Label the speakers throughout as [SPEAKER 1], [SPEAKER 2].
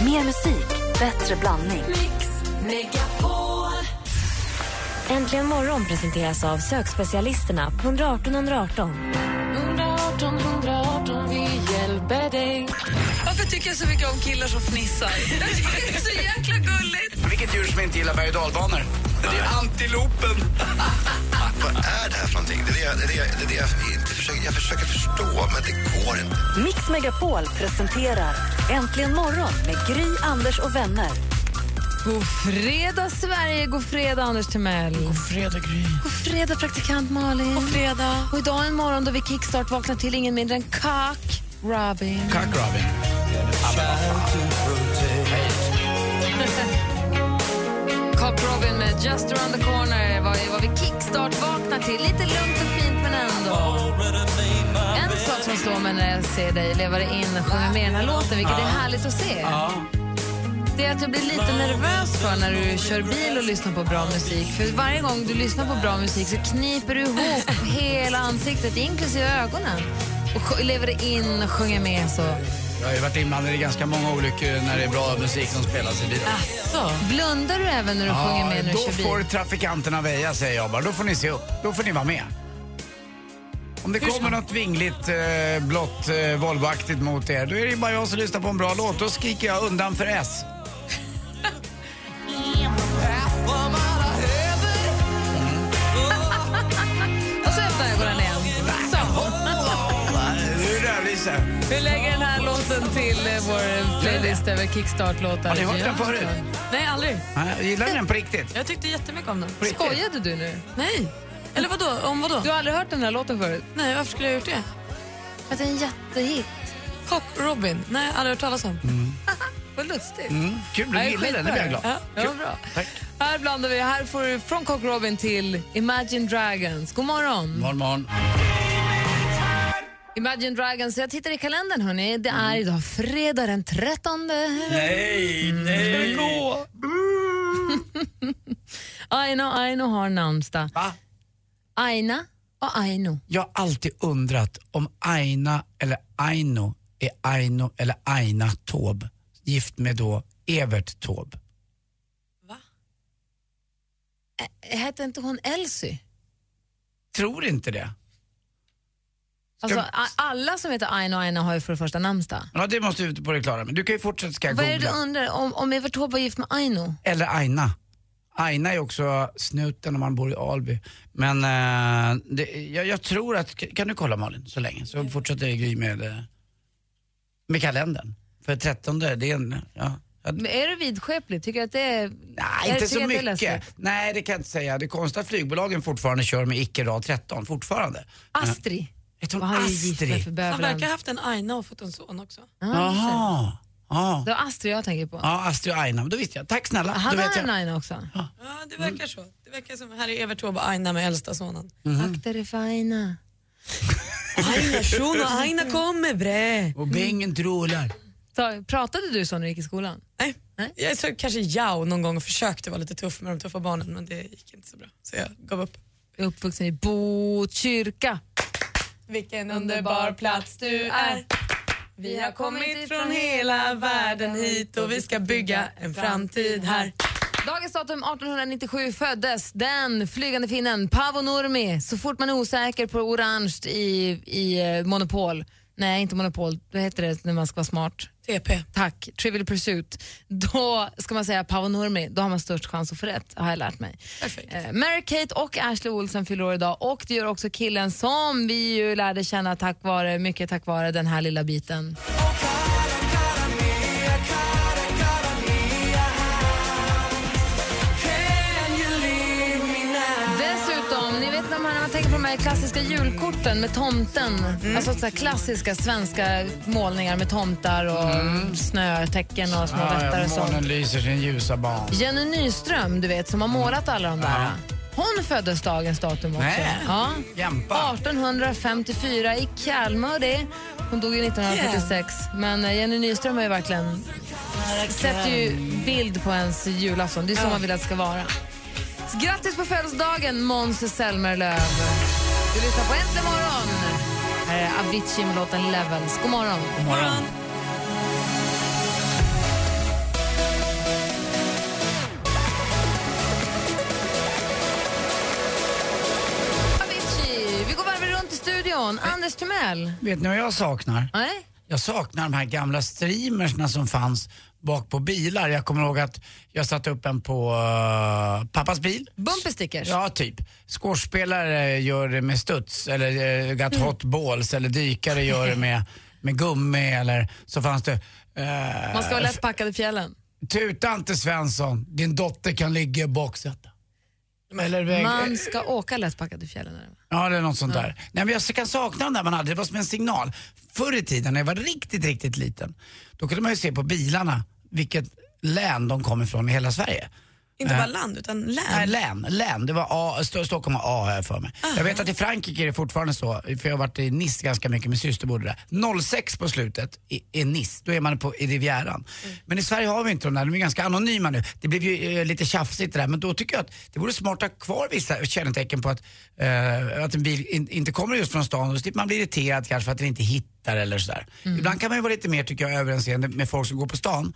[SPEAKER 1] Mer musik, bättre blandning.
[SPEAKER 2] Mix Megapol.
[SPEAKER 3] Äntligen morgon presenteras av sökspecialisterna på 118 118.
[SPEAKER 2] 118 118, vi hjälper dig.
[SPEAKER 4] Varför tycker jag så mycket om killar som fnissar? Jag tycker det är så jäkla gulligt.
[SPEAKER 5] Vilket djur som inte gillar berg och dalbanor? Det är antilopen.
[SPEAKER 6] Vad är det här för någonting? Det är det, jag- det, är det, jag- det, är det jag, inte försöker, jag försöker förstå, men det går inte.
[SPEAKER 1] Mix Megapol presenterar Äntligen morgon med Gry, Anders och vänner.
[SPEAKER 3] God fredag, Sverige! God fredag, Anders Timell! God fredag, Gry! God fredag, praktikant Malin! God fredag! Och idag är en morgon då vi kickstart vaknar till ingen mindre än Kak Robin.
[SPEAKER 5] Kack, Robin.
[SPEAKER 3] Kak Robin med Just around the corner var ju vad vi kickstart vaknar till. Lite lugnt och fint, men ändå. En sak som slår mig när jag ser dig leva dig in och sjunga med i den här låten, vilket är härligt att se. Det är att jag blir lite nervös för när du kör bil och lyssnar på bra musik. För varje gång du lyssnar på bra musik så kniper du ihop hela ansiktet, inklusive ögonen. Och sj- lever dig in och sjunger med så.
[SPEAKER 5] Jag har ju varit inblandad i ganska många olyckor när det är bra musik som spelas i bilen.
[SPEAKER 4] Alltså.
[SPEAKER 3] Blundar du även när du sjunger med när du
[SPEAKER 5] då
[SPEAKER 3] kör bil?
[SPEAKER 5] får trafikanterna väja, säger jag bara. Då får ni se upp. Då får ni vara med. Om det kommer något vingligt, eh, blått, eh, Volvoaktigt mot er, då är det ju bara jag som lyssnar på en bra låt. Då skriker jag undan för S.
[SPEAKER 3] Och så öppnar ögonen igen. Så.
[SPEAKER 5] Nu rödlyser jag.
[SPEAKER 4] Vi lägger den här låten till eh, vår playlist över kickstart-låtar.
[SPEAKER 5] Har ni hört den
[SPEAKER 4] Ja.
[SPEAKER 5] förut?
[SPEAKER 4] Nej, aldrig.
[SPEAKER 5] Nej, Gillar ni den på riktigt?
[SPEAKER 4] Jag tyckte jättemycket om den.
[SPEAKER 5] På riktigt?
[SPEAKER 3] Skojade du nu?
[SPEAKER 4] Nej. Eller vadå? Om vadå?
[SPEAKER 3] Du har aldrig hört den här låten förut?
[SPEAKER 4] Nej, varför skulle jag ha gjort det?
[SPEAKER 3] Att det är en jättehit.
[SPEAKER 4] Cock Robin? Nej, aldrig hört talas om.
[SPEAKER 3] Vad lustigt.
[SPEAKER 5] Mm, kul, du
[SPEAKER 3] Nej,
[SPEAKER 5] gillar den. Det blir jag glad.
[SPEAKER 3] Ja, det var bra.
[SPEAKER 5] Tack.
[SPEAKER 3] Här blandar vi. Här får du från Cock Robin till Imagine Dragons. God morgon.
[SPEAKER 5] Morgon, morgon.
[SPEAKER 3] Imagine Dragons. Jag tittar i kalendern, hörni. Det är idag fredag den 13.
[SPEAKER 5] Mm. Nej, nej.
[SPEAKER 3] Aino Aino har namnsdag.
[SPEAKER 5] Va?
[SPEAKER 3] Aina och Aino.
[SPEAKER 5] Jag har alltid undrat om Aina eller Aino är Aino eller Aina Taube gift med då Evert Taube.
[SPEAKER 3] Ä- Hette inte hon Elsy?
[SPEAKER 5] Tror inte det.
[SPEAKER 3] Alltså, a- alla som heter Aino och Aina har ju för det första namnsdag.
[SPEAKER 5] Ja, det måste du ut på det klara med. Du kan ju fortsätta ska jag
[SPEAKER 3] Vad är det du
[SPEAKER 5] googla.
[SPEAKER 3] undrar? Om, om Evert Taube var gift med Aino?
[SPEAKER 5] Eller Aina. Aina är också snuten om man bor i Alby. Men eh, det, jag, jag tror att, kan du kolla Malin så länge? Så fortsätter jag Gry med, eh, med kalendern. För 13 det är en, ja. Jag-
[SPEAKER 3] Men Är du vidskeplig? Tycker du att det är...
[SPEAKER 5] Nej,
[SPEAKER 3] Jag
[SPEAKER 5] inte
[SPEAKER 3] tycker
[SPEAKER 5] så
[SPEAKER 3] att det är
[SPEAKER 5] mycket.
[SPEAKER 3] läskigt.
[SPEAKER 5] Nej, det kan jag inte säga. Det är konstigt att flygbolagen fortfarande kör med icke-rad 13, fortfarande.
[SPEAKER 3] Astrid.
[SPEAKER 5] Heter hon
[SPEAKER 3] Vad har du gift med för
[SPEAKER 5] Astrid?
[SPEAKER 4] Han verkar
[SPEAKER 3] bövelen?
[SPEAKER 4] ha haft en Aina och fått en son också.
[SPEAKER 3] Ja,
[SPEAKER 5] Jaha. Ja,
[SPEAKER 3] det var Astrid jag tänker på.
[SPEAKER 5] ja Astrid och Aina, men då visste jag. Tack snälla.
[SPEAKER 3] Han
[SPEAKER 5] då
[SPEAKER 3] har
[SPEAKER 5] vet
[SPEAKER 3] en
[SPEAKER 5] jag.
[SPEAKER 3] Aina också.
[SPEAKER 4] Ja, det verkar så. Det verkar som här är Evert Taube och Aina med äldsta sonen.
[SPEAKER 5] Mhm.
[SPEAKER 3] Akta dig för Aina.
[SPEAKER 4] Aina shuno, Aina kommer bre.
[SPEAKER 3] Mm.
[SPEAKER 5] Och bängen drålar.
[SPEAKER 3] Så, pratade du så när du gick i skolan?
[SPEAKER 4] Nej.
[SPEAKER 3] Nej.
[SPEAKER 4] Jag tror kanske jag någon gång och försökte vara lite tuff med de tuffa barnen men det gick inte så bra. Så jag gav upp.
[SPEAKER 3] Jag är uppvuxen i Botkyrka.
[SPEAKER 4] Vilken underbar plats du är. Vi har kommit från hela världen hit och vi ska bygga en framtid här.
[SPEAKER 3] Dagens datum 1897 föddes den flygande finnen Paavo Nurmi. Så fort man är osäker på orange i, i eh, Monopol, nej inte Monopol, vad heter det när man ska vara smart?
[SPEAKER 4] TP.
[SPEAKER 3] Tack, Trivial Pursuit. Då ska man säga Paavo Nurmi, då har man störst chans att få rätt, har jag lärt mig.
[SPEAKER 4] Perfekt.
[SPEAKER 3] Eh, Mary-Kate och Ashley Olsen fyller år idag och det gör också killen som vi ju lärde känna tack vare, mycket tack vare den här lilla biten. Dessutom, ni vet när man, när man tänker på de här klassiska julkorten med tomten. Alltså så här klassiska svenska målningar med tomtar och snötecken och små vättar och sånt.
[SPEAKER 5] månen lyser sin ljusa barn.
[SPEAKER 3] Jenny Nyström, du vet, som har målat alla de där. Hon föddes dagens datum också.
[SPEAKER 5] Nej.
[SPEAKER 3] Ja.
[SPEAKER 5] Jämpa.
[SPEAKER 3] 1854 i Kalmar det. Hon dog ju 1946. Men eh, Jenny Nyström har ju verkligen sätter ju bild på ens julafton. Det är så man vill att det ska vara. Så Grattis på födelsedagen, Måns Zelmerlöw. Du lyssnar på Äntligen morgon. Här är Avicii med låten Levels. God morgon.
[SPEAKER 5] God morgon.
[SPEAKER 3] morgon. Anders Timell.
[SPEAKER 5] Vet ni vad jag saknar?
[SPEAKER 3] Nej?
[SPEAKER 5] Jag saknar de här gamla streamersna som fanns bak på bilar. Jag kommer ihåg att jag satte upp en på eh, pappas bil.
[SPEAKER 3] Bumpy stickers?
[SPEAKER 5] Ja, typ. Skådespelare gör det med studs eller eh,
[SPEAKER 3] Mm.
[SPEAKER 5] got hot balls eller dykare gör det med, med gummi eller så fanns det eh,
[SPEAKER 3] Man ska vara lätt packad i fjällen.
[SPEAKER 5] Tuta inte Svensson, din dotter kan ligga i baksätet. Eller väg,
[SPEAKER 3] Man ska åka lätt packad i fjällen. är det.
[SPEAKER 5] Ja, det är något sånt där. Nej, men jag kan sakna den där man hade, det var som en signal. Förr i tiden när jag var riktigt, riktigt liten, då kunde man ju se på bilarna vilket län de kom ifrån i hela Sverige.
[SPEAKER 4] Inte bara land, utan
[SPEAKER 5] Nej,
[SPEAKER 4] län.
[SPEAKER 5] län, län. Det var A, St- Stockholm var A har jag för mig. Jag vet att i Frankrike är det fortfarande så, för jag har varit i Nice ganska mycket, min syster bodde där. 06 på slutet i- är Nice, då är man på, i Rivieran. Men i Sverige har vi inte de där, de är ganska anonyma nu. Det blev ju eh, lite tjafsigt det där, men då tycker jag att det vore smart att ha kvar vissa kännetecken på att, eh, att en bil in, inte kommer just från stan, då slipper man bli irriterad kanske för att den inte hittar eller sådär. Ibland kan man ju vara lite mer, tycker jag, överseende med folk som går på stan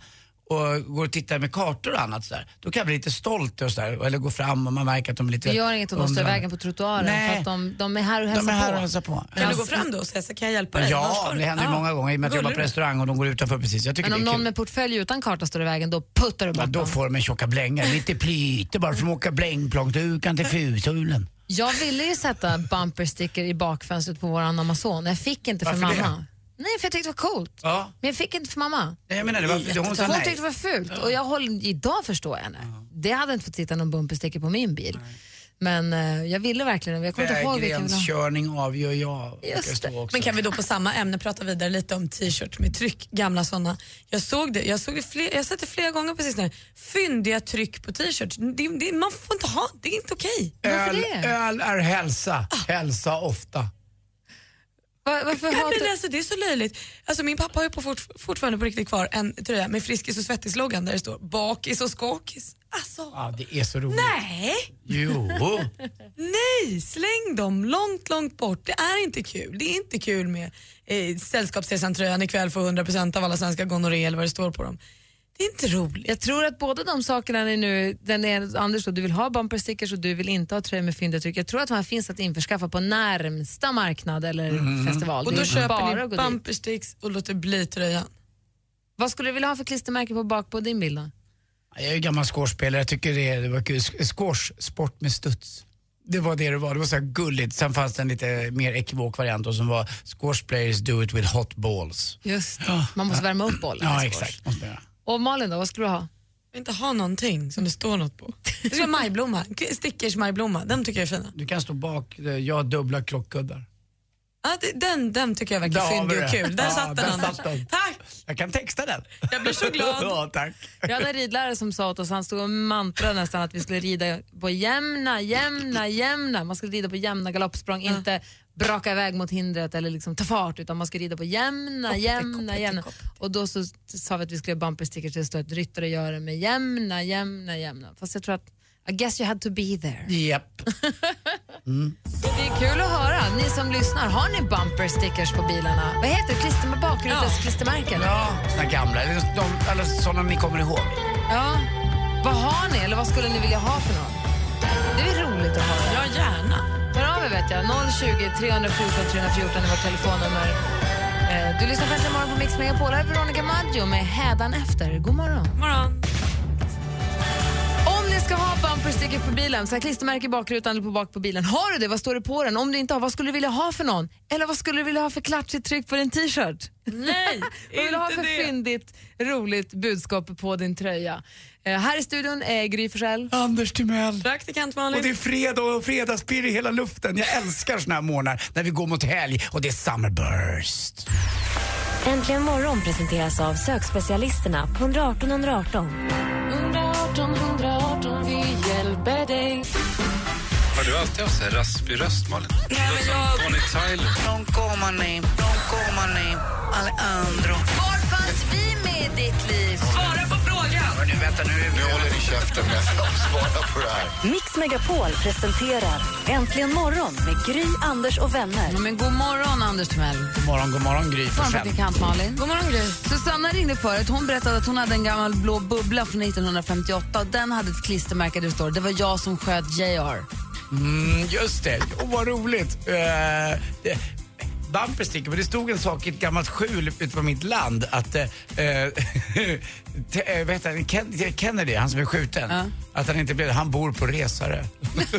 [SPEAKER 5] och går och tittar med kartor och annat sådär, då kan jag bli lite stolt och sådär, eller gå fram och man märker att de är lite
[SPEAKER 3] Det gör inget om de står i
[SPEAKER 5] undrande.
[SPEAKER 3] vägen på trottoaren för
[SPEAKER 5] Nej.
[SPEAKER 3] att de, de är här och hälsar
[SPEAKER 5] De är här
[SPEAKER 3] på.
[SPEAKER 5] och hälsar på.
[SPEAKER 4] Kan du gå fram då och säga så kan jag hjälpa dig? Annars
[SPEAKER 5] Alltså, Ja,
[SPEAKER 4] får du-
[SPEAKER 5] det händer ju
[SPEAKER 4] Ja.
[SPEAKER 5] många gånger i och med att jag jobbar på
[SPEAKER 4] Gullig.
[SPEAKER 5] restaurang och de går utanför precis. Jag tycker
[SPEAKER 3] Men om
[SPEAKER 5] det är
[SPEAKER 3] någon
[SPEAKER 5] kul.
[SPEAKER 3] med portfölj utan karta står i vägen, då puttar du
[SPEAKER 5] Ja,
[SPEAKER 3] bort
[SPEAKER 5] då
[SPEAKER 3] dem.
[SPEAKER 5] får de en tjocka blänga, lite plyte bara för att åka blängplång, du kan till fusulen.
[SPEAKER 3] Jag ville ju sätta bumpersticker i bakfönstret på våran Amazon. Jag fick inte för
[SPEAKER 5] Varför det?
[SPEAKER 3] mamma. Nej, för jag tyckte det var coolt.
[SPEAKER 5] Ja,
[SPEAKER 3] Men jag fick inte för mamma.
[SPEAKER 5] Nej, jag menar det var, hon sa
[SPEAKER 3] Hon
[SPEAKER 5] nej.
[SPEAKER 3] tyckte det var fult och jag håller, idag förstår jag henne. Det hade inte fått sitta någon bumpersticker på min bil. Men eh, jag ville verkligen, jag
[SPEAKER 5] Äh,
[SPEAKER 3] kommer inte ihåg vilken jag ville ha.
[SPEAKER 5] Vägrenskörning avgör jag. brukar
[SPEAKER 3] Just
[SPEAKER 5] stå
[SPEAKER 3] det.
[SPEAKER 5] också.
[SPEAKER 4] Men kan vi då på samma ämne prata vidare lite om t-shirt med tryck, gamla sådana. Jag såg det, jag såg det fler, jag har sett det flera gånger på sistone. Fyndiga tryck på t-shirt. Det, det, man får inte ha, det är inte okej.
[SPEAKER 3] Varför
[SPEAKER 5] Öl,
[SPEAKER 3] det? Ah.
[SPEAKER 5] öl är hälsa, hälsa ofta.
[SPEAKER 3] Var, varför
[SPEAKER 4] Ja, men
[SPEAKER 3] hatar...
[SPEAKER 4] alltså, det är så löjligt. Alltså, min pappa har ju på fort, fortfarande på riktigt kvar en tröja med Friskis och Svettis-loggan där det står bakis och skakis. Alltså,
[SPEAKER 5] Ja, det är så roligt.
[SPEAKER 4] nej,
[SPEAKER 5] Jo.
[SPEAKER 4] nej, släng dem långt, långt bort. Det är inte kul. Det är inte kul med eh, Sällskapsresan-tröjan ikväll för 100% av alla svenska gonorré eller vad det står på dem. Det är inte roligt.
[SPEAKER 3] Jag tror att båda de sakerna är nu, den är, Anders då, du vill ha bumperstickers och du vill inte ha tröjor med fyndatryck. Jag tror att de här finns att införskaffa på närmsta marknad eller festival.
[SPEAKER 4] Mhm. Och
[SPEAKER 3] Det
[SPEAKER 4] då
[SPEAKER 3] är Mm. bara
[SPEAKER 4] köper
[SPEAKER 3] att gå
[SPEAKER 4] ni
[SPEAKER 3] dit.
[SPEAKER 4] bumpersticks och låter bli tröjan.
[SPEAKER 3] Vad skulle du vilja ha för klistermärke på bak på din bild då?
[SPEAKER 5] Jag är ju gammal skådespelare, jag tycker det, det var kul. Skårs, sport med studs. Det var det det var, det var så här gulligt. Sen fanns det en lite mer ekivok variant och som var Squash players do it with hot balls.
[SPEAKER 3] Just Man måste värma upp bollen.
[SPEAKER 5] Ja,
[SPEAKER 3] i squash.
[SPEAKER 5] exakt. Måste man göra.
[SPEAKER 3] Och Malin då, vad skulle du ha?
[SPEAKER 4] Jag vill inte ha någonting som det står något på. Jag ska ha majblomma, stickers majblomma, de tycker jag är fina.
[SPEAKER 5] Du kan stå bak, eh, jag har dubbla klockkuddar.
[SPEAKER 4] Ja, det- den, den tycker jag verkar
[SPEAKER 5] Där har vi
[SPEAKER 4] fyndig och
[SPEAKER 5] det.
[SPEAKER 4] kul. Där
[SPEAKER 5] Ja,
[SPEAKER 4] satt
[SPEAKER 5] där
[SPEAKER 4] den Anders.
[SPEAKER 5] satt den.
[SPEAKER 4] Tack!
[SPEAKER 5] Jag kan texta den.
[SPEAKER 4] Jag blir så glad.
[SPEAKER 5] ja, tack.
[SPEAKER 3] Jag hade en ridlärare som sa åt oss, han stod och mantrade nästan att vi skulle rida på jämna, jämna, jämna. Man skulle rida på jämna galoppsprång, inte braka iväg mot hindret eller liksom ta fart utan man skulle rida på jämna, jämna, jämna. Och då så sa vi att vi skulle ha bumperstickers där det står att ryttare gör det med jämna, jämna, jämna. Fast jag tror att i guess you had to be there.
[SPEAKER 5] Japp.
[SPEAKER 3] Det är kul att höra. Ni som lyssnar, har ni bumperstickers på bilarna? Vad heter det? Klister med bakrutas-klistermärken?
[SPEAKER 5] Ja, såna gamla, eller de, eller såna ni kommer ihåg.
[SPEAKER 3] Ja. Vad har ni eller vad skulle ni vilja ha för något? Det är roligt att höra.
[SPEAKER 4] Ja, gärna.
[SPEAKER 3] Hör av er vet jag. 020 314 314 är vårt telefonnummer. Eh, Du lyssnar på Äntligen morgon på Mix Megapol. Här är Veronica Maggio med Hädan efter. God morgon.
[SPEAKER 4] Morgon.
[SPEAKER 3] Om ni ska ha bumpersticker på bilen, så här klistermärke i bakrutan eller på bak på bilen. Har du det? Vad står det på den? Om du inte har, vad skulle du vilja ha för någon? Eller vad skulle du vilja ha för klatschigt tryck på din t-shirt?
[SPEAKER 4] Nej,
[SPEAKER 3] Vad vill du ha
[SPEAKER 4] inte
[SPEAKER 3] för
[SPEAKER 4] det.
[SPEAKER 3] fyndigt, roligt budskap på din tröja? Eh, här i studion är Gry Forssell.
[SPEAKER 5] Anders Timell.
[SPEAKER 4] Praktikant
[SPEAKER 5] Och det är
[SPEAKER 4] Malin.
[SPEAKER 5] fredag och fredagspirr i hela luften. Jag älskar såna här morgnar när vi går mot helg och det är summerburst.
[SPEAKER 1] Äntligen morgon presenteras av sökspecialisterna på 118 118.
[SPEAKER 2] 118 118, vi hjälper dig.
[SPEAKER 6] Har du alltid haft så här raspig röst, Malin? Nej, men jag... Bonnie Tyler.
[SPEAKER 5] Non coma ni, non coma ni, Alejandro.
[SPEAKER 3] Var fanns vi med i ditt liv?
[SPEAKER 5] Hörni, vänta nu.
[SPEAKER 6] Nu håller ni käften med Svara på det här.
[SPEAKER 1] Mix Megapol presenterar Äntligen morgon med Gry, Anders och vänner.
[SPEAKER 3] Ja, men god morgon, Anders Timell.
[SPEAKER 5] God morgon, god morgon Gry
[SPEAKER 3] morgon,
[SPEAKER 5] Forssell.
[SPEAKER 3] praktikant Malin. God morgon, Gry. Susanna ringde förut. Hon berättade att hon hade en gammal blå bubbla från 1958 och den hade ett klistermärke där det står det var jag som sköt JR.
[SPEAKER 5] Mm, just det, och vad roligt. Eh, det, bumper sticker, men det stod en sak i ett gammalt skjul ute på mitt land att eh, eh, te- eh, vad heter han? Ken, Kennedy, han som är skjuten, att han inte blev det. Han bor på Resare.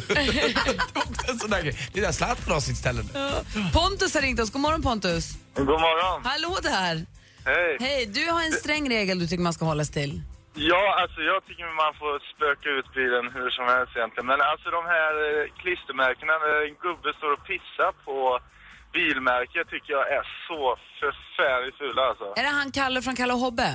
[SPEAKER 5] det var också en sån där grej. Det är där Zlatan har sitt ställe nu.
[SPEAKER 3] Pontus har ringt oss. God morgon Pontus.
[SPEAKER 7] God morgon.
[SPEAKER 3] Hallå där.
[SPEAKER 7] Hej.
[SPEAKER 3] Hej, du har en sträng regel du tycker man ska hålla sig till.
[SPEAKER 7] Ja, alltså jag tycker man får spöka ut bilen hur som helst egentligen. Men alltså de här eh, klistermärkena när en gubbe står och pissar på bilmärket tycker jag är så förfärligt fula alltså.
[SPEAKER 3] Är det han Kalle från Kalle och Hobbe?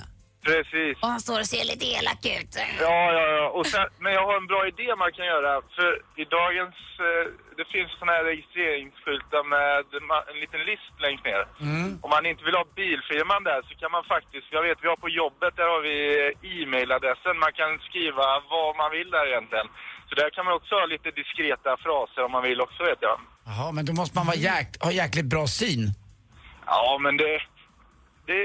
[SPEAKER 7] Precis.
[SPEAKER 3] Och han står och ser lite elak ut.
[SPEAKER 7] Ja, ja, ja. Och sen, men jag har en bra idé man kan göra. För i dagens... eh, Det finns såna här registreringsskyltar med ma- en liten list längst ner.
[SPEAKER 5] Mm.
[SPEAKER 7] Om man inte vill ha bilfirman där så kan man faktiskt... Jag vet, vi har på jobbet, där har vi eh, e-mailadressen. Man kan skriva vad man vill där egentligen. Så där kan man också ha lite diskreta fraser om man vill också, vet jag.
[SPEAKER 5] Jaha, men då måste man vara jäk, ha jäkligt bra syn.
[SPEAKER 7] Ja, men det... Det,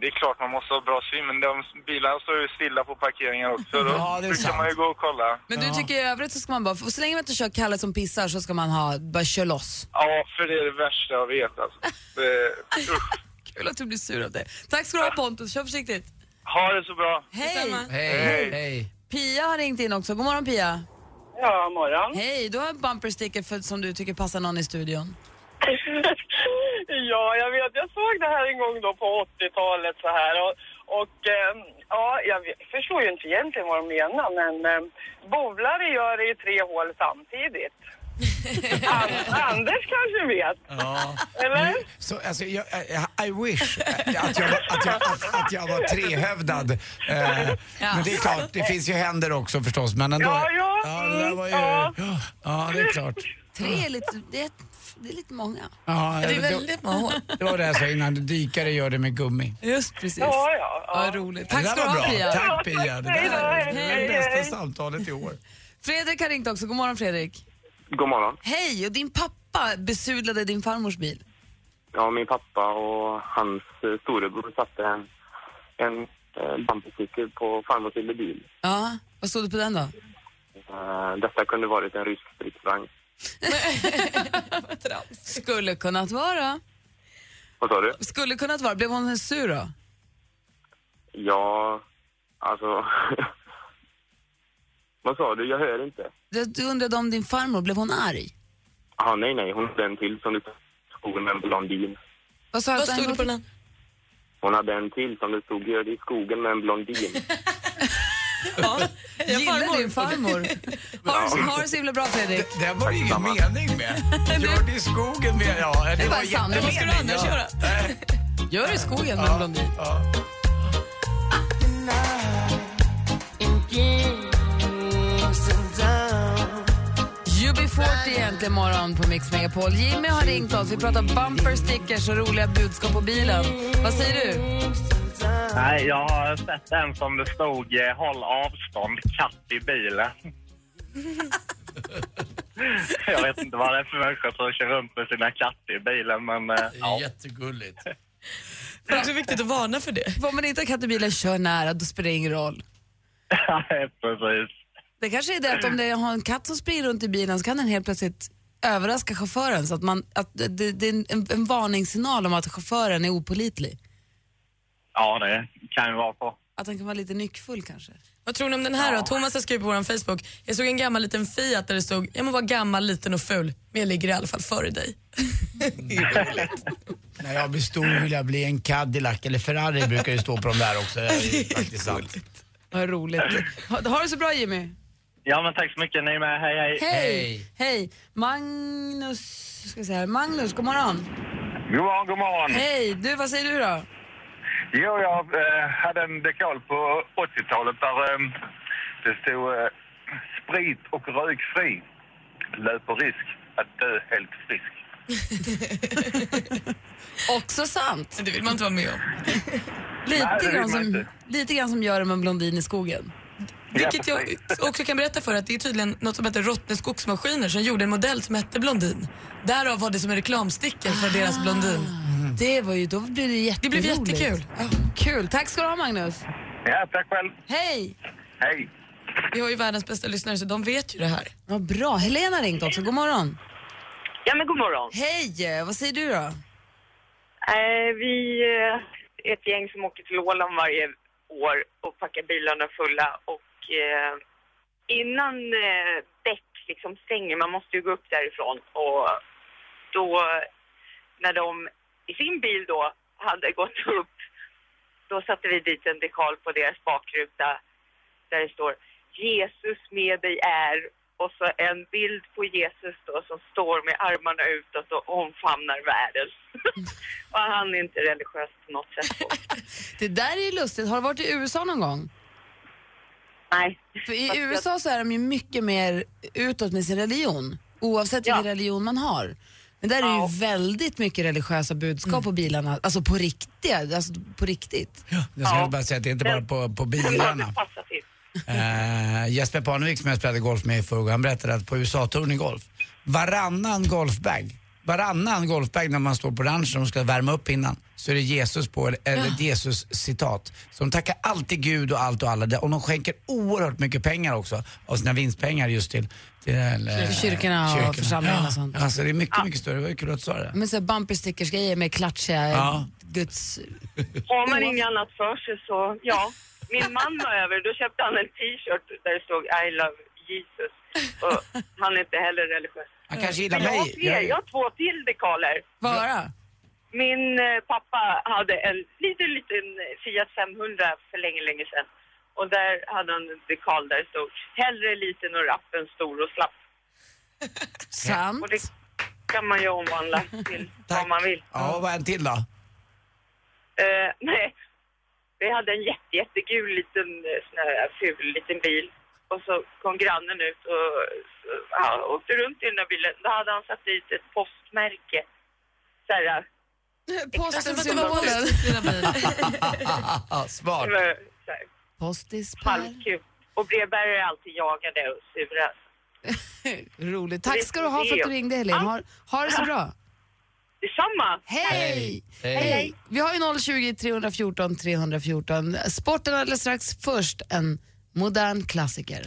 [SPEAKER 7] det är klart man måste ha bra syn, men de bilarna står ju stilla på parkeringar också. Då
[SPEAKER 5] Ja, det är
[SPEAKER 7] brukar
[SPEAKER 5] sant.
[SPEAKER 7] man ju gå och kolla.
[SPEAKER 3] Men du tycker i övrigt så ska man bara, så länge man inte kör Kalle som pissar så ska man ha, bara kör loss.
[SPEAKER 7] Ja, för det är det värsta jag vet alltså. Det, usch.
[SPEAKER 3] Kul att du blir sur av det. Tack ska du ha Pontus, kör försiktigt.
[SPEAKER 7] Ha det så bra.
[SPEAKER 3] Hej!
[SPEAKER 4] Detsamma.
[SPEAKER 5] Hej, hej.
[SPEAKER 3] Pia har ringt in också. God morgon Pia.
[SPEAKER 8] Ja, morgon.
[SPEAKER 3] Hej, du har en bumper sticker för, som du tycker passar någon i studion.
[SPEAKER 8] ja, jag vet. Jag såg det här en gång då på 80-talet så här. Och, och ehm, ja, jag vet- förstår ju inte egentligen vad de menar, men eh, bowlare gör det i tre hål samtidigt. An- Anders kanske vet,
[SPEAKER 5] Ja.
[SPEAKER 8] eller?
[SPEAKER 5] Så, alltså, jag, I, I wish eh, att jag, var- att jag, att, att jag var trehövdad. Eh, Men det är klart, det finns ju händer också förstås. Men ändå.
[SPEAKER 8] Ja, ja. mm,
[SPEAKER 5] det där var ju, ja.
[SPEAKER 8] Ja.
[SPEAKER 5] det är klart.
[SPEAKER 3] Tre är lite, det är, det är lite många.
[SPEAKER 5] Ja,
[SPEAKER 4] Det är
[SPEAKER 5] det,
[SPEAKER 4] väldigt många hår.
[SPEAKER 5] det var det jag sa innan, dykare gör det med gummi.
[SPEAKER 3] Just precis.
[SPEAKER 8] Ja, ja. ja.
[SPEAKER 3] Vad roligt.
[SPEAKER 5] det
[SPEAKER 3] Tack
[SPEAKER 5] där
[SPEAKER 3] ska du
[SPEAKER 5] var
[SPEAKER 3] ha
[SPEAKER 5] bra.
[SPEAKER 3] Pia.
[SPEAKER 5] Tack Pia, det
[SPEAKER 8] Hej då,
[SPEAKER 5] där är det
[SPEAKER 8] hej,
[SPEAKER 5] bästa
[SPEAKER 8] hej.
[SPEAKER 5] samtalet i år.
[SPEAKER 3] Fredrik har ringt också. God morgon Fredrik.
[SPEAKER 9] God morgon.
[SPEAKER 3] Hej, och din pappa besudlade din farmors bil.
[SPEAKER 9] Ja, min pappa och hans eh, storebror satte en, en eh, bumpersticker på farmors lilla bil.
[SPEAKER 3] Ja, vad stod det på den då?
[SPEAKER 9] Eh, detta kunde varit en rysk stridsvagn.
[SPEAKER 3] Skulle kunnat vara.
[SPEAKER 9] Vad sa du?
[SPEAKER 3] Skulle kunnat vara. Blev hon sur då?
[SPEAKER 9] Ja, alltså... Vad sa du? Jag hör inte.
[SPEAKER 3] Du- Du undrade om din farmor, blev hon arg?
[SPEAKER 9] Ah, nej, nej, hon hade en till som du stod skogen med en blondin.
[SPEAKER 3] Vad sa
[SPEAKER 4] Vad stod det på den här?
[SPEAKER 9] Hon hade en till som du stod gör i skogen med en blondin.
[SPEAKER 4] Jag
[SPEAKER 3] Gillar
[SPEAKER 4] farmor.
[SPEAKER 3] din farmor. Ha det så- ha det så himla bra Fredrik.
[SPEAKER 5] Det var ju ingen
[SPEAKER 9] Samma.
[SPEAKER 5] mening med. Gör det i skogen med, ja. Det,
[SPEAKER 3] var sant. Vad
[SPEAKER 4] ska du annars
[SPEAKER 5] ja.
[SPEAKER 4] göra?
[SPEAKER 5] Nej,
[SPEAKER 3] Gör det i skogen med en blondin.
[SPEAKER 5] ja.
[SPEAKER 3] UB40 egentligen morgon på Mix Megapol. Jimmy har ringt oss. Vi pratar bumper stickers och roliga budskap på bilen. Vad säger du?
[SPEAKER 7] Nej, jag har sett en som det stod eh, håll avstånd, katt i bilen. jag vet inte vad det är för människor som kör runt med sina katter i bilen, men... eh,
[SPEAKER 5] Det är jättegulligt.
[SPEAKER 4] Det är också viktigt att varna för det.
[SPEAKER 3] Om man inte har katt i bilen, kör nära. Då spelar det ingen roll.
[SPEAKER 7] nej, precis.
[SPEAKER 3] Det kanske är det att om det har en katt som springer runt i bilen så kan den helt plötsligt överraska chauffören. Så att man, att det, det det är en, en varningssignal om att chauffören är opolitlig.
[SPEAKER 7] Ja, det kan ju vara så.
[SPEAKER 3] Att han kan vara lite nyckfull kanske.
[SPEAKER 4] Vad tror ni om den här då? Thomas har skrivit på vår Facebook. Jag såg en gammal liten Fiat där det stod jag må vara gammal, liten och ful, men jag ligger i alla fall före dig.
[SPEAKER 5] När jag blir stor vill jag bli en Cadillac eller Ferrari brukar ju stå på de där också. Det är ju faktiskt sant.
[SPEAKER 3] Vad roligt. Ha, ha det så bra Jimmy.
[SPEAKER 7] Ja, men tack så mycket. Ni är med. Hej, hej.
[SPEAKER 3] Hej!
[SPEAKER 5] Hej.
[SPEAKER 3] Hej! Magnus, ska vi säga här. Magnus, god morgon.
[SPEAKER 7] God morgon, god morgon.
[SPEAKER 3] Hej! Du, vad säger du då?
[SPEAKER 7] Jo, jag eh, hade en dekal på 80-talet där eh, det stod eh, sprit och rökfri. Löper risk att dö helt frisk.
[SPEAKER 3] Också sant.
[SPEAKER 4] Det vill man inte vara med om.
[SPEAKER 3] Lite,
[SPEAKER 7] Nej, det vill
[SPEAKER 3] grann
[SPEAKER 7] man
[SPEAKER 3] som,
[SPEAKER 7] inte.
[SPEAKER 3] lite grann som gör det med en blondin i skogen.
[SPEAKER 4] Vilket jag också kan berätta för att det är tydligen något som heter Rottne skogsmaskiner som gjorde en modell som hette Blondin. Därav var det som en reklamstickel för
[SPEAKER 3] Ah.
[SPEAKER 4] deras Blondin.
[SPEAKER 3] Det var ju, då blev det jätteroligt.
[SPEAKER 4] Mm. Det blev jättekul.
[SPEAKER 3] Ja, kul. Tack ska du ha Magnus.
[SPEAKER 7] Ja, tack själv.
[SPEAKER 3] Hej!
[SPEAKER 7] Hej.
[SPEAKER 4] Vi har ju världens bästa lyssnare så de vet ju det här.
[SPEAKER 3] Vad bra. Helena har ringt också. God morgon.
[SPEAKER 8] Ja, men god morgon.
[SPEAKER 3] Hej! Vad säger du då?
[SPEAKER 8] Eh, vi eh, är ett gäng som åker till Åland varje år och packar bilarna fulla. Och eh, innan eh, däck liksom stänger, man måste ju gå upp därifrån. Och då, när de i sin bil då hade gått upp, då satte vi dit en dekal på deras bakruta där det står Jesus med dig är och så en bild på Jesus då som står med armarna utåt och omfamnar världen. och han är inte religiös på något sätt. då.
[SPEAKER 3] Det där är ju lustigt. Har du varit i USA någon gång?
[SPEAKER 8] Nej.
[SPEAKER 3] För i
[SPEAKER 8] Fast jag-
[SPEAKER 3] USA så är de ju mycket mer utåt med sin religion, oavsett
[SPEAKER 8] Ja.
[SPEAKER 3] vilken religion man har. Men där är det
[SPEAKER 8] Ja. Mm.
[SPEAKER 3] ju väldigt mycket religiösa budskap på bilarna, alltså på riktiga, alltså på riktigt.
[SPEAKER 5] Jag skulle
[SPEAKER 8] Ja.
[SPEAKER 5] bara säga att det är inte bara på, på bilarna.
[SPEAKER 8] Det passar till.
[SPEAKER 5] Eh, Jesper Parnevik som jag spelade golf med i förrgår, han berättade att på USA-touren i golf, varannan golfbag, varannan golfbag när man står på ranchen och ska värma upp innan, så är det Jesus på, eller, eller ett Jesus-citat. Så de tackar alltid Gud och allt och alla där. och de skänker oerhört mycket pengar också, av sina vinstpengar just till, till eh,
[SPEAKER 3] Till kyrkorna och församlingarna och
[SPEAKER 5] Ja,
[SPEAKER 3] sånt.
[SPEAKER 5] Alltså det är mycket, mycket större. Det var ju kul att du sa det.
[SPEAKER 3] Men så här bumper stickers grejer med klatschiga
[SPEAKER 5] Ja.
[SPEAKER 3] Guds...
[SPEAKER 8] Har man inget annat för sig så, ja. Min man var över, då köpte han en t-shirt där det stod I love Jesus. Och han är inte heller religiös.
[SPEAKER 5] Han kanske gillar
[SPEAKER 8] Men jag har
[SPEAKER 5] mig.
[SPEAKER 8] fler, jag har två till dekaler.
[SPEAKER 3] Vara?
[SPEAKER 8] Min eh, pappa hade en liten, liten Fiat 500 för länge, länge sedan. Och där hade han en dekal där det stod hellre liten och rapp än stor och slapp.
[SPEAKER 3] Sant?
[SPEAKER 8] Och det kan man ju omvandla till vad
[SPEAKER 5] Tack.
[SPEAKER 8] man vill.
[SPEAKER 5] Ja, och vad är en till då?
[SPEAKER 8] Eh, nej, vi hade en jätte, jättegul liten eh, sån här ful liten bil. Och så kom grannen ut och så- han åkte runt i den där bilen. Då hade han satt dit ett postmärke. Så här,
[SPEAKER 3] Posten
[SPEAKER 8] det var
[SPEAKER 3] symbolen.
[SPEAKER 5] Ah, smart.
[SPEAKER 8] eh, så här
[SPEAKER 3] Postis Per.
[SPEAKER 8] halvkul. Och brevbärare är alltid jagade och sura.
[SPEAKER 3] Roligt. Tack ska du ha för att du ringde Helene. Har, har det så bra.
[SPEAKER 8] Detsamma!
[SPEAKER 3] Hej!
[SPEAKER 5] Hej.
[SPEAKER 3] Hej! Vi har ju 020 314 314. Sporten alldeles strax. Först en modern klassiker.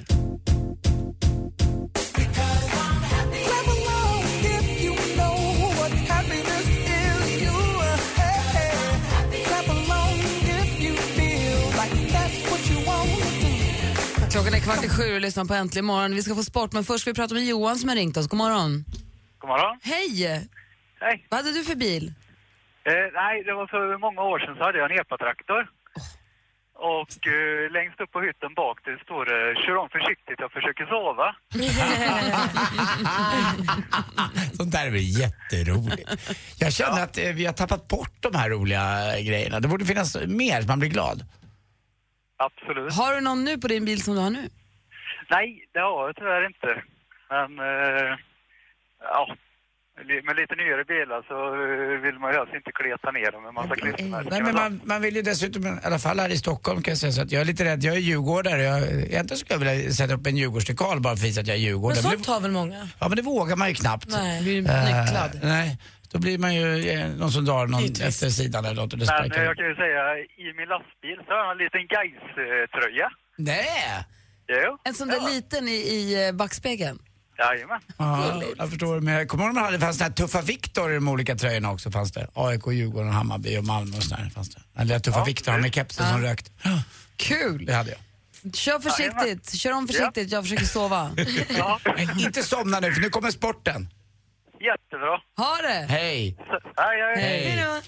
[SPEAKER 3] Klockan är kvart i sju och lyssnar på Äntligen morgon. Vi ska få sport, men först ska vi prata med Johan som har ringt oss. God morgon.
[SPEAKER 7] God morgon.
[SPEAKER 3] Hej!
[SPEAKER 7] Hej.
[SPEAKER 3] Vad hade du för bil?
[SPEAKER 7] Eh, nej, det var för många år sedan så hade jag en epatraktor. Och eh, längst upp på hytten bak det står det “Kör om försiktigt, jag försöker sova”.
[SPEAKER 5] Sånt där är väl jätteroligt. Jag känner att eh, vi har tappat bort de här roliga eh, grejerna. Det borde finnas mer, man blir glad.
[SPEAKER 7] Absolut.
[SPEAKER 3] Har du någon nu på din bil som du har nu?
[SPEAKER 7] Nej, det har jag tyvärr inte. Men, eh, ja. li- Med lite nyare bilar så eh, vill man ju helst inte kleta ner dem med massa klistermärken.
[SPEAKER 5] Nej, men man, man vill ju dessutom, i alla fall här i Stockholm kan jag säga så att jag är lite rädd. Jag är djurgårdare. Jag, egentligen skulle jag vilja sätta upp en djurgårdsdekal bara för att visa att jag är
[SPEAKER 4] Men
[SPEAKER 5] djurgårdare. Men
[SPEAKER 4] sånt
[SPEAKER 5] det,
[SPEAKER 4] har väl många?
[SPEAKER 5] ja, men det vågar man ju knappt.
[SPEAKER 4] Nej.
[SPEAKER 3] Blir
[SPEAKER 5] Eh,
[SPEAKER 3] nycklad?
[SPEAKER 5] nej, då blir man ju eh, någon som drar någon
[SPEAKER 4] Givetvis.
[SPEAKER 5] efter sidan eller något och det
[SPEAKER 7] Men eh,
[SPEAKER 5] sparkar.
[SPEAKER 7] jag kan ju säga, i min lastbil så har jag en liten Gais-tröja.
[SPEAKER 5] Nej!
[SPEAKER 7] Jo,
[SPEAKER 3] En sån där liten i, i eh, backspegeln.
[SPEAKER 7] jajamän.
[SPEAKER 5] Ja, jag förstår. Men jag kommer ihåg när man hade, det fanns den här tuffa Viktor i de olika tröjorna också. Fanns det. AIK, Djurgården, Hammarby och Malmö och sådär. Fanns det. Den lilla tuffa Viktor, han med kepsen som rökt.
[SPEAKER 3] Kul!
[SPEAKER 5] Det hade jag.
[SPEAKER 3] Kör försiktigt, kör om försiktigt, jag försöker sova.
[SPEAKER 7] Ja,
[SPEAKER 5] Nej, inte somna nu för nu kommer sporten.
[SPEAKER 7] jättebra.
[SPEAKER 3] Ha det!
[SPEAKER 5] Hej!
[SPEAKER 7] Så, hej, hej.
[SPEAKER 5] Hej!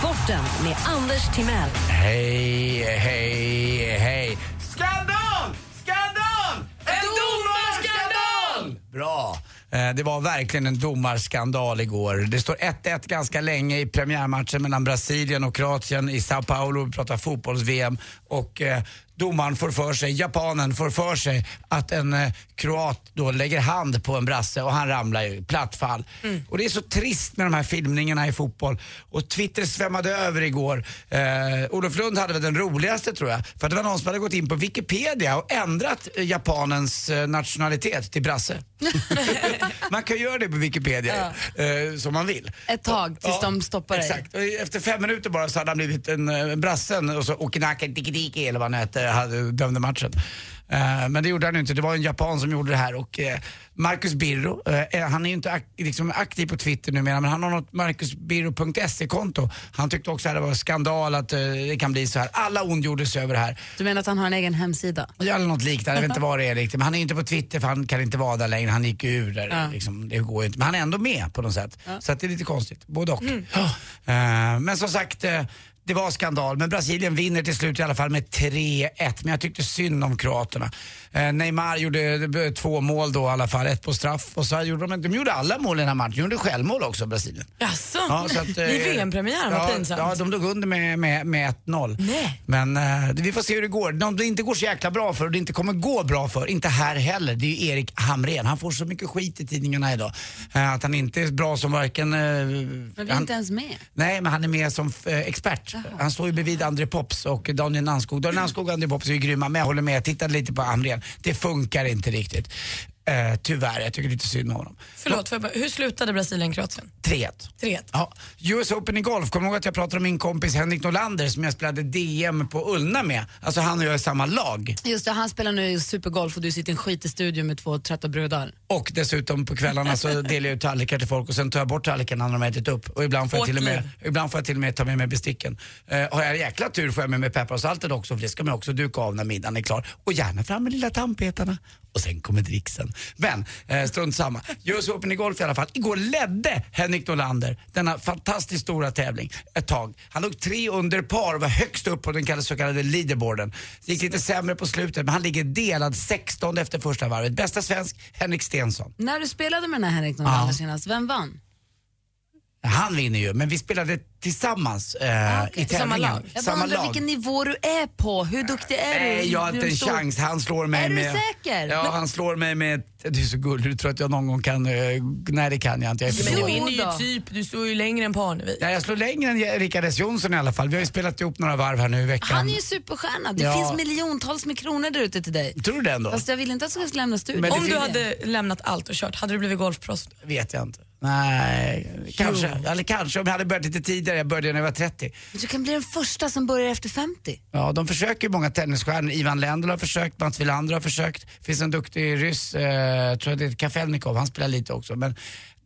[SPEAKER 1] Sporten med Anders Timell.
[SPEAKER 5] Hej, hej, hej! Skandal! Skandal! En domarskandal! Bra. Eh, Det var verkligen en domarskandal igår. Det står 1-1 ganska länge i premiärmatchen mellan Brasilien och Kroatien i Sao Paulo. Vi pratar fotbolls-VM och eh, domaren får för sig, japanen får för sig att en eh, kroat då lägger hand på en brasse och han ramlar ju, platt fall. Och det är så trist med de här filmningarna i fotboll. Och Twitter svämmade över igår. Eh, Olof Lund hade väl den roligaste tror jag. För det var någon som hade gått in på Wikipedia och ändrat eh, japanens eh, nationalitet till brasse. man kan göra det på Wikipedia eh, som man vill.
[SPEAKER 3] Ett tag tills
[SPEAKER 5] Ja,
[SPEAKER 3] de stoppar dig.
[SPEAKER 5] Exakt. Och efter fem minuter bara så hade han blivit en, eh, en brassen och så Okinaka Dikidiki eller vad han hette. hade, dömde matchen. Eh, Men det gjorde han ju inte. Det var en japan som gjorde det här och eh, Marcus Birro, eh, han är ju inte ak liksom aktiv på Twitter numera men han har något marcusbirro.se-konto. Han tyckte också att det var skandal att eh, det kan bli så här. Alla ondgjordes över det här.
[SPEAKER 10] Du menar att han har en egen hemsida?
[SPEAKER 5] Ja, eller något liknande, jag vet inte vad det är riktigt. Men han är ju inte på Twitter för han kan inte vara där längre, han gick ju ur där. Liksom, det går ju inte. Men han är ändå med på något sätt. Så att det är lite konstigt, både och. Ja. Eh, men som sagt, eh, det var skandal. Men Brasilien vinner till slut i alla fall med 3-1. Men jag tyckte synd om kroaterna. Eh, Neymar gjorde eh, två mål då i alla fall, ett på straff. Och så gjorde de, de gjorde alla mål i den här matchen, de gjorde självmål också Brasilien.
[SPEAKER 4] Jaså?
[SPEAKER 5] Ja, så att, eh,
[SPEAKER 4] I VM-premiären, vad
[SPEAKER 5] ja,
[SPEAKER 4] pinsamt.
[SPEAKER 5] Ja, de låg under med, med, med 1-0.
[SPEAKER 4] Nej.
[SPEAKER 5] Men eh, vi får se hur det går. De det inte går så jäkla bra för och det inte kommer gå bra för, inte här heller, det är ju Erik Hamrén. Han får så mycket skit i tidningarna idag. Eh, att han inte är bra som varken... eh,
[SPEAKER 10] Men vi är
[SPEAKER 5] han,
[SPEAKER 10] inte ens med.
[SPEAKER 5] Nej, men han är med som eh, expert. Han står ju bredvid André Pops och Daniel Nanskog. Daniel Nanskog och André Pops är ju grymma, men jag håller med. Jag tittade lite på Hamrén. Det funkar inte riktigt. Eh, tyvärr, jag tycker lite synd om honom.
[SPEAKER 4] Förlåt, får jag bara, hur slutade Brasilien-Kroatien?
[SPEAKER 5] 3-1.
[SPEAKER 4] 3-1.
[SPEAKER 5] Ja, US Open i golf, kommer du ihåg att jag pratade om min kompis Henrik Norlander som jag spelade DM på Ullna med? Alltså han och jag är i samma lag.
[SPEAKER 10] Just det, han spelar nu supergolf och du sitter i en skitig studio med två trötta brudar.
[SPEAKER 5] Och dessutom på kvällarna så delar jag ut tallrikar till folk och sen tar jag bort tallrikarna när de har ätit upp. Och ibland får, jag
[SPEAKER 4] Hårt
[SPEAKER 5] till och, med,
[SPEAKER 4] liv.
[SPEAKER 5] ibland får jag till och med ta med mig besticken. Eh, har jag jäkla tur får jag med mig peppar och saltet också för det ska man också duka av när middagen är klar. Och gärna fram med lilla tandpetarna. Och sen kommer dricksen. Men eh, strunt samma. US Open i golf i alla fall. Igår ledde Henrik Norlander denna fantastiskt stora tävling ett tag. Han låg tre under par och var högst upp på den kallade- så kallade leaderboarden. Det gick lite sämre på slutet men han ligger delad 16 efter första varvet. Bästa svensk, Henrik Stensson.
[SPEAKER 10] När du spelade med den här Henrik Norlander
[SPEAKER 5] Ja.
[SPEAKER 10] senast, vem vann?
[SPEAKER 5] Han vinner ju, men vi spelade tillsammans
[SPEAKER 10] Ah,
[SPEAKER 5] eh, i
[SPEAKER 4] Samma
[SPEAKER 5] tävlingen.
[SPEAKER 4] lag.
[SPEAKER 10] Jag bara undrar vilken nivå du är på, hur duktig är du?
[SPEAKER 5] Nej, jag har
[SPEAKER 10] Hur
[SPEAKER 5] inte en
[SPEAKER 10] stor-
[SPEAKER 5] chans. Han slår mig
[SPEAKER 10] Är du
[SPEAKER 5] med...
[SPEAKER 10] säker?
[SPEAKER 5] Ja,
[SPEAKER 10] Men-
[SPEAKER 5] han slår mig med... Du är så gullig, du tror att jag någon gång kan... eh, Nej, det kan jag inte. Jag är för
[SPEAKER 4] Men
[SPEAKER 5] dålig.
[SPEAKER 4] du vinner
[SPEAKER 10] då.
[SPEAKER 4] ju typ, du står ju längre än Parnevik.
[SPEAKER 5] Nej, jag slår längre än Rickard S Jonsson i alla fall. Vi har ju spelat ihop några varv här nu i veckan.
[SPEAKER 10] Han är ju superstjärna, det
[SPEAKER 5] Ja.
[SPEAKER 10] finns miljontals med kronor där ute till dig.
[SPEAKER 5] Tror du det ändå?
[SPEAKER 10] Fast jag vill inte att du ska lämna studion.
[SPEAKER 5] Men det
[SPEAKER 4] Om
[SPEAKER 5] finns-
[SPEAKER 4] du hade lämnat allt och kört, hade du blivit golfproffs?
[SPEAKER 5] Vet jag inte. Nej, kanske. Eller kanske om jag hade börjat lite tidigare. Jag började när jag var 30.
[SPEAKER 10] Du kan bli den första som börjar efter 50.
[SPEAKER 5] Ja, de försöker ju många tennisstjärnor. Ivan Lendl har försökt, Mats Wilander har försökt. Det finns en duktig ryss, eh, tror jag det är Kafelnikov, han spelar lite också. Men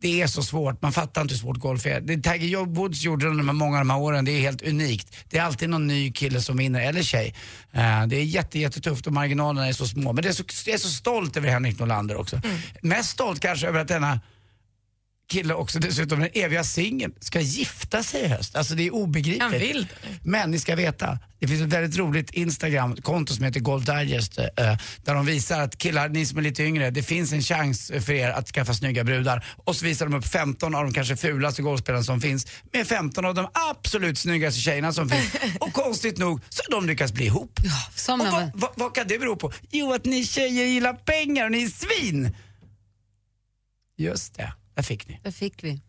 [SPEAKER 5] det är så svårt, man fattar inte hur svårt golf är. Det Tiger Jo- Woods gjorde under de här många av de här åren, det är helt unikt. Det är alltid någon ny kille som vinner, eller tjej. Eh, det är jätte, jättetufft och marginalerna är så små. Men det är så, jag är så stolt över Henrik Norlander också. Mest stolt kanske över att denna kille också dessutom, den eviga singeln, ska gifta sig i höst. Alltså det är obegripligt.
[SPEAKER 4] Han vill.
[SPEAKER 5] Men ni ska veta, det finns ett väldigt roligt Instagram-konto som heter Golf Digest eh, där de visar att killar, ni som är lite yngre, det finns en chans för er att skaffa snygga brudar. Och så visar de upp 15 av de kanske fulaste golfspelarna som finns med 15 av de absolut snyggaste tjejerna som finns. Och konstigt nog så har de lyckats bli ihop.
[SPEAKER 10] Som
[SPEAKER 5] Och
[SPEAKER 10] jag
[SPEAKER 5] vad, vad, vad kan det bero på? Jo, att ni tjejer gillar pengar och ni är svin! Just det, där fick ni.
[SPEAKER 10] Där fick vi.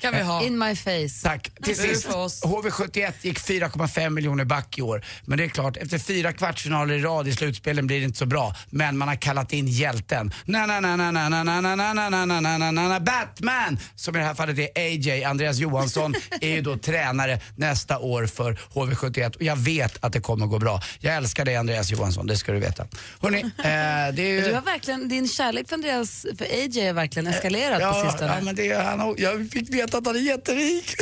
[SPEAKER 4] Kan vi ha.
[SPEAKER 10] In my face.
[SPEAKER 5] Tack. Till
[SPEAKER 4] Det är
[SPEAKER 5] sist,
[SPEAKER 4] för oss.
[SPEAKER 5] HV71 gick 4,5 miljoner back i år. Men det är klart, efter fyra kvartsfinaler i rad i slutspelen blir det inte så bra. Men man har kallat in hjälten. na na na na na na na na na na na na na na na na Batman! Som i det här fallet är AJ. Andreas Johansson är ju då tränare nästa år för HV71 och jag vet att det kommer gå bra. Jag älskar dig Andreas Johansson, det ska du veta. Hörrni, eh, det är ju...
[SPEAKER 10] Du har verkligen, din kärlek för Andreas, för AJ har verkligen eskalerat på sistone.
[SPEAKER 5] ja, men det är, han, har- jag fick veta att han är jätterik.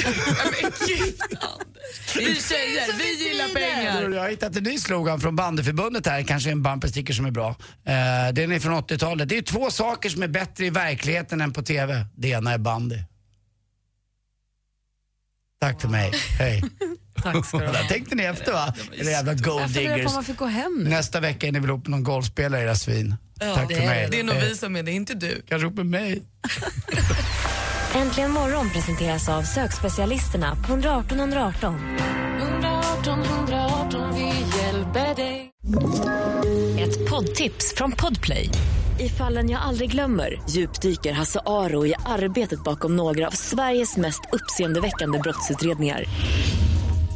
[SPEAKER 4] Vi tjejer, vi gillar pengar.
[SPEAKER 5] Jag har hittat en ny slogan från bandyförbundet här, kanske en bumpersticker som är bra. Eh, den är från 80-talet. Det är två saker som är bättre i verkligheten än på TV. Det ena är bandy. Tack för mig, hej.
[SPEAKER 10] Tack ska du ha.
[SPEAKER 5] Där tänkte ni efter va? Era jävla gold
[SPEAKER 10] Jag funderar på
[SPEAKER 5] diggers.
[SPEAKER 10] om man fick gå hem nu.
[SPEAKER 5] Nästa vecka är ni väl ihop med någon golfspelare era svin. Tack
[SPEAKER 10] det
[SPEAKER 5] för
[SPEAKER 10] är
[SPEAKER 5] mig.
[SPEAKER 4] Det är nog
[SPEAKER 5] Eh,
[SPEAKER 4] vi som är det, inte du.
[SPEAKER 5] Kanske ihop med mig.
[SPEAKER 1] Äntligen morgon presenteras av sökspecialisterna på 118 118.
[SPEAKER 2] 118 118, vi hjälper dig.
[SPEAKER 11] Ett poddtips från Podplay. I fallen jag aldrig glömmer djupdyker Hasse Aro i arbetet bakom några av Sveriges mest uppseendeväckande brottsutredningar.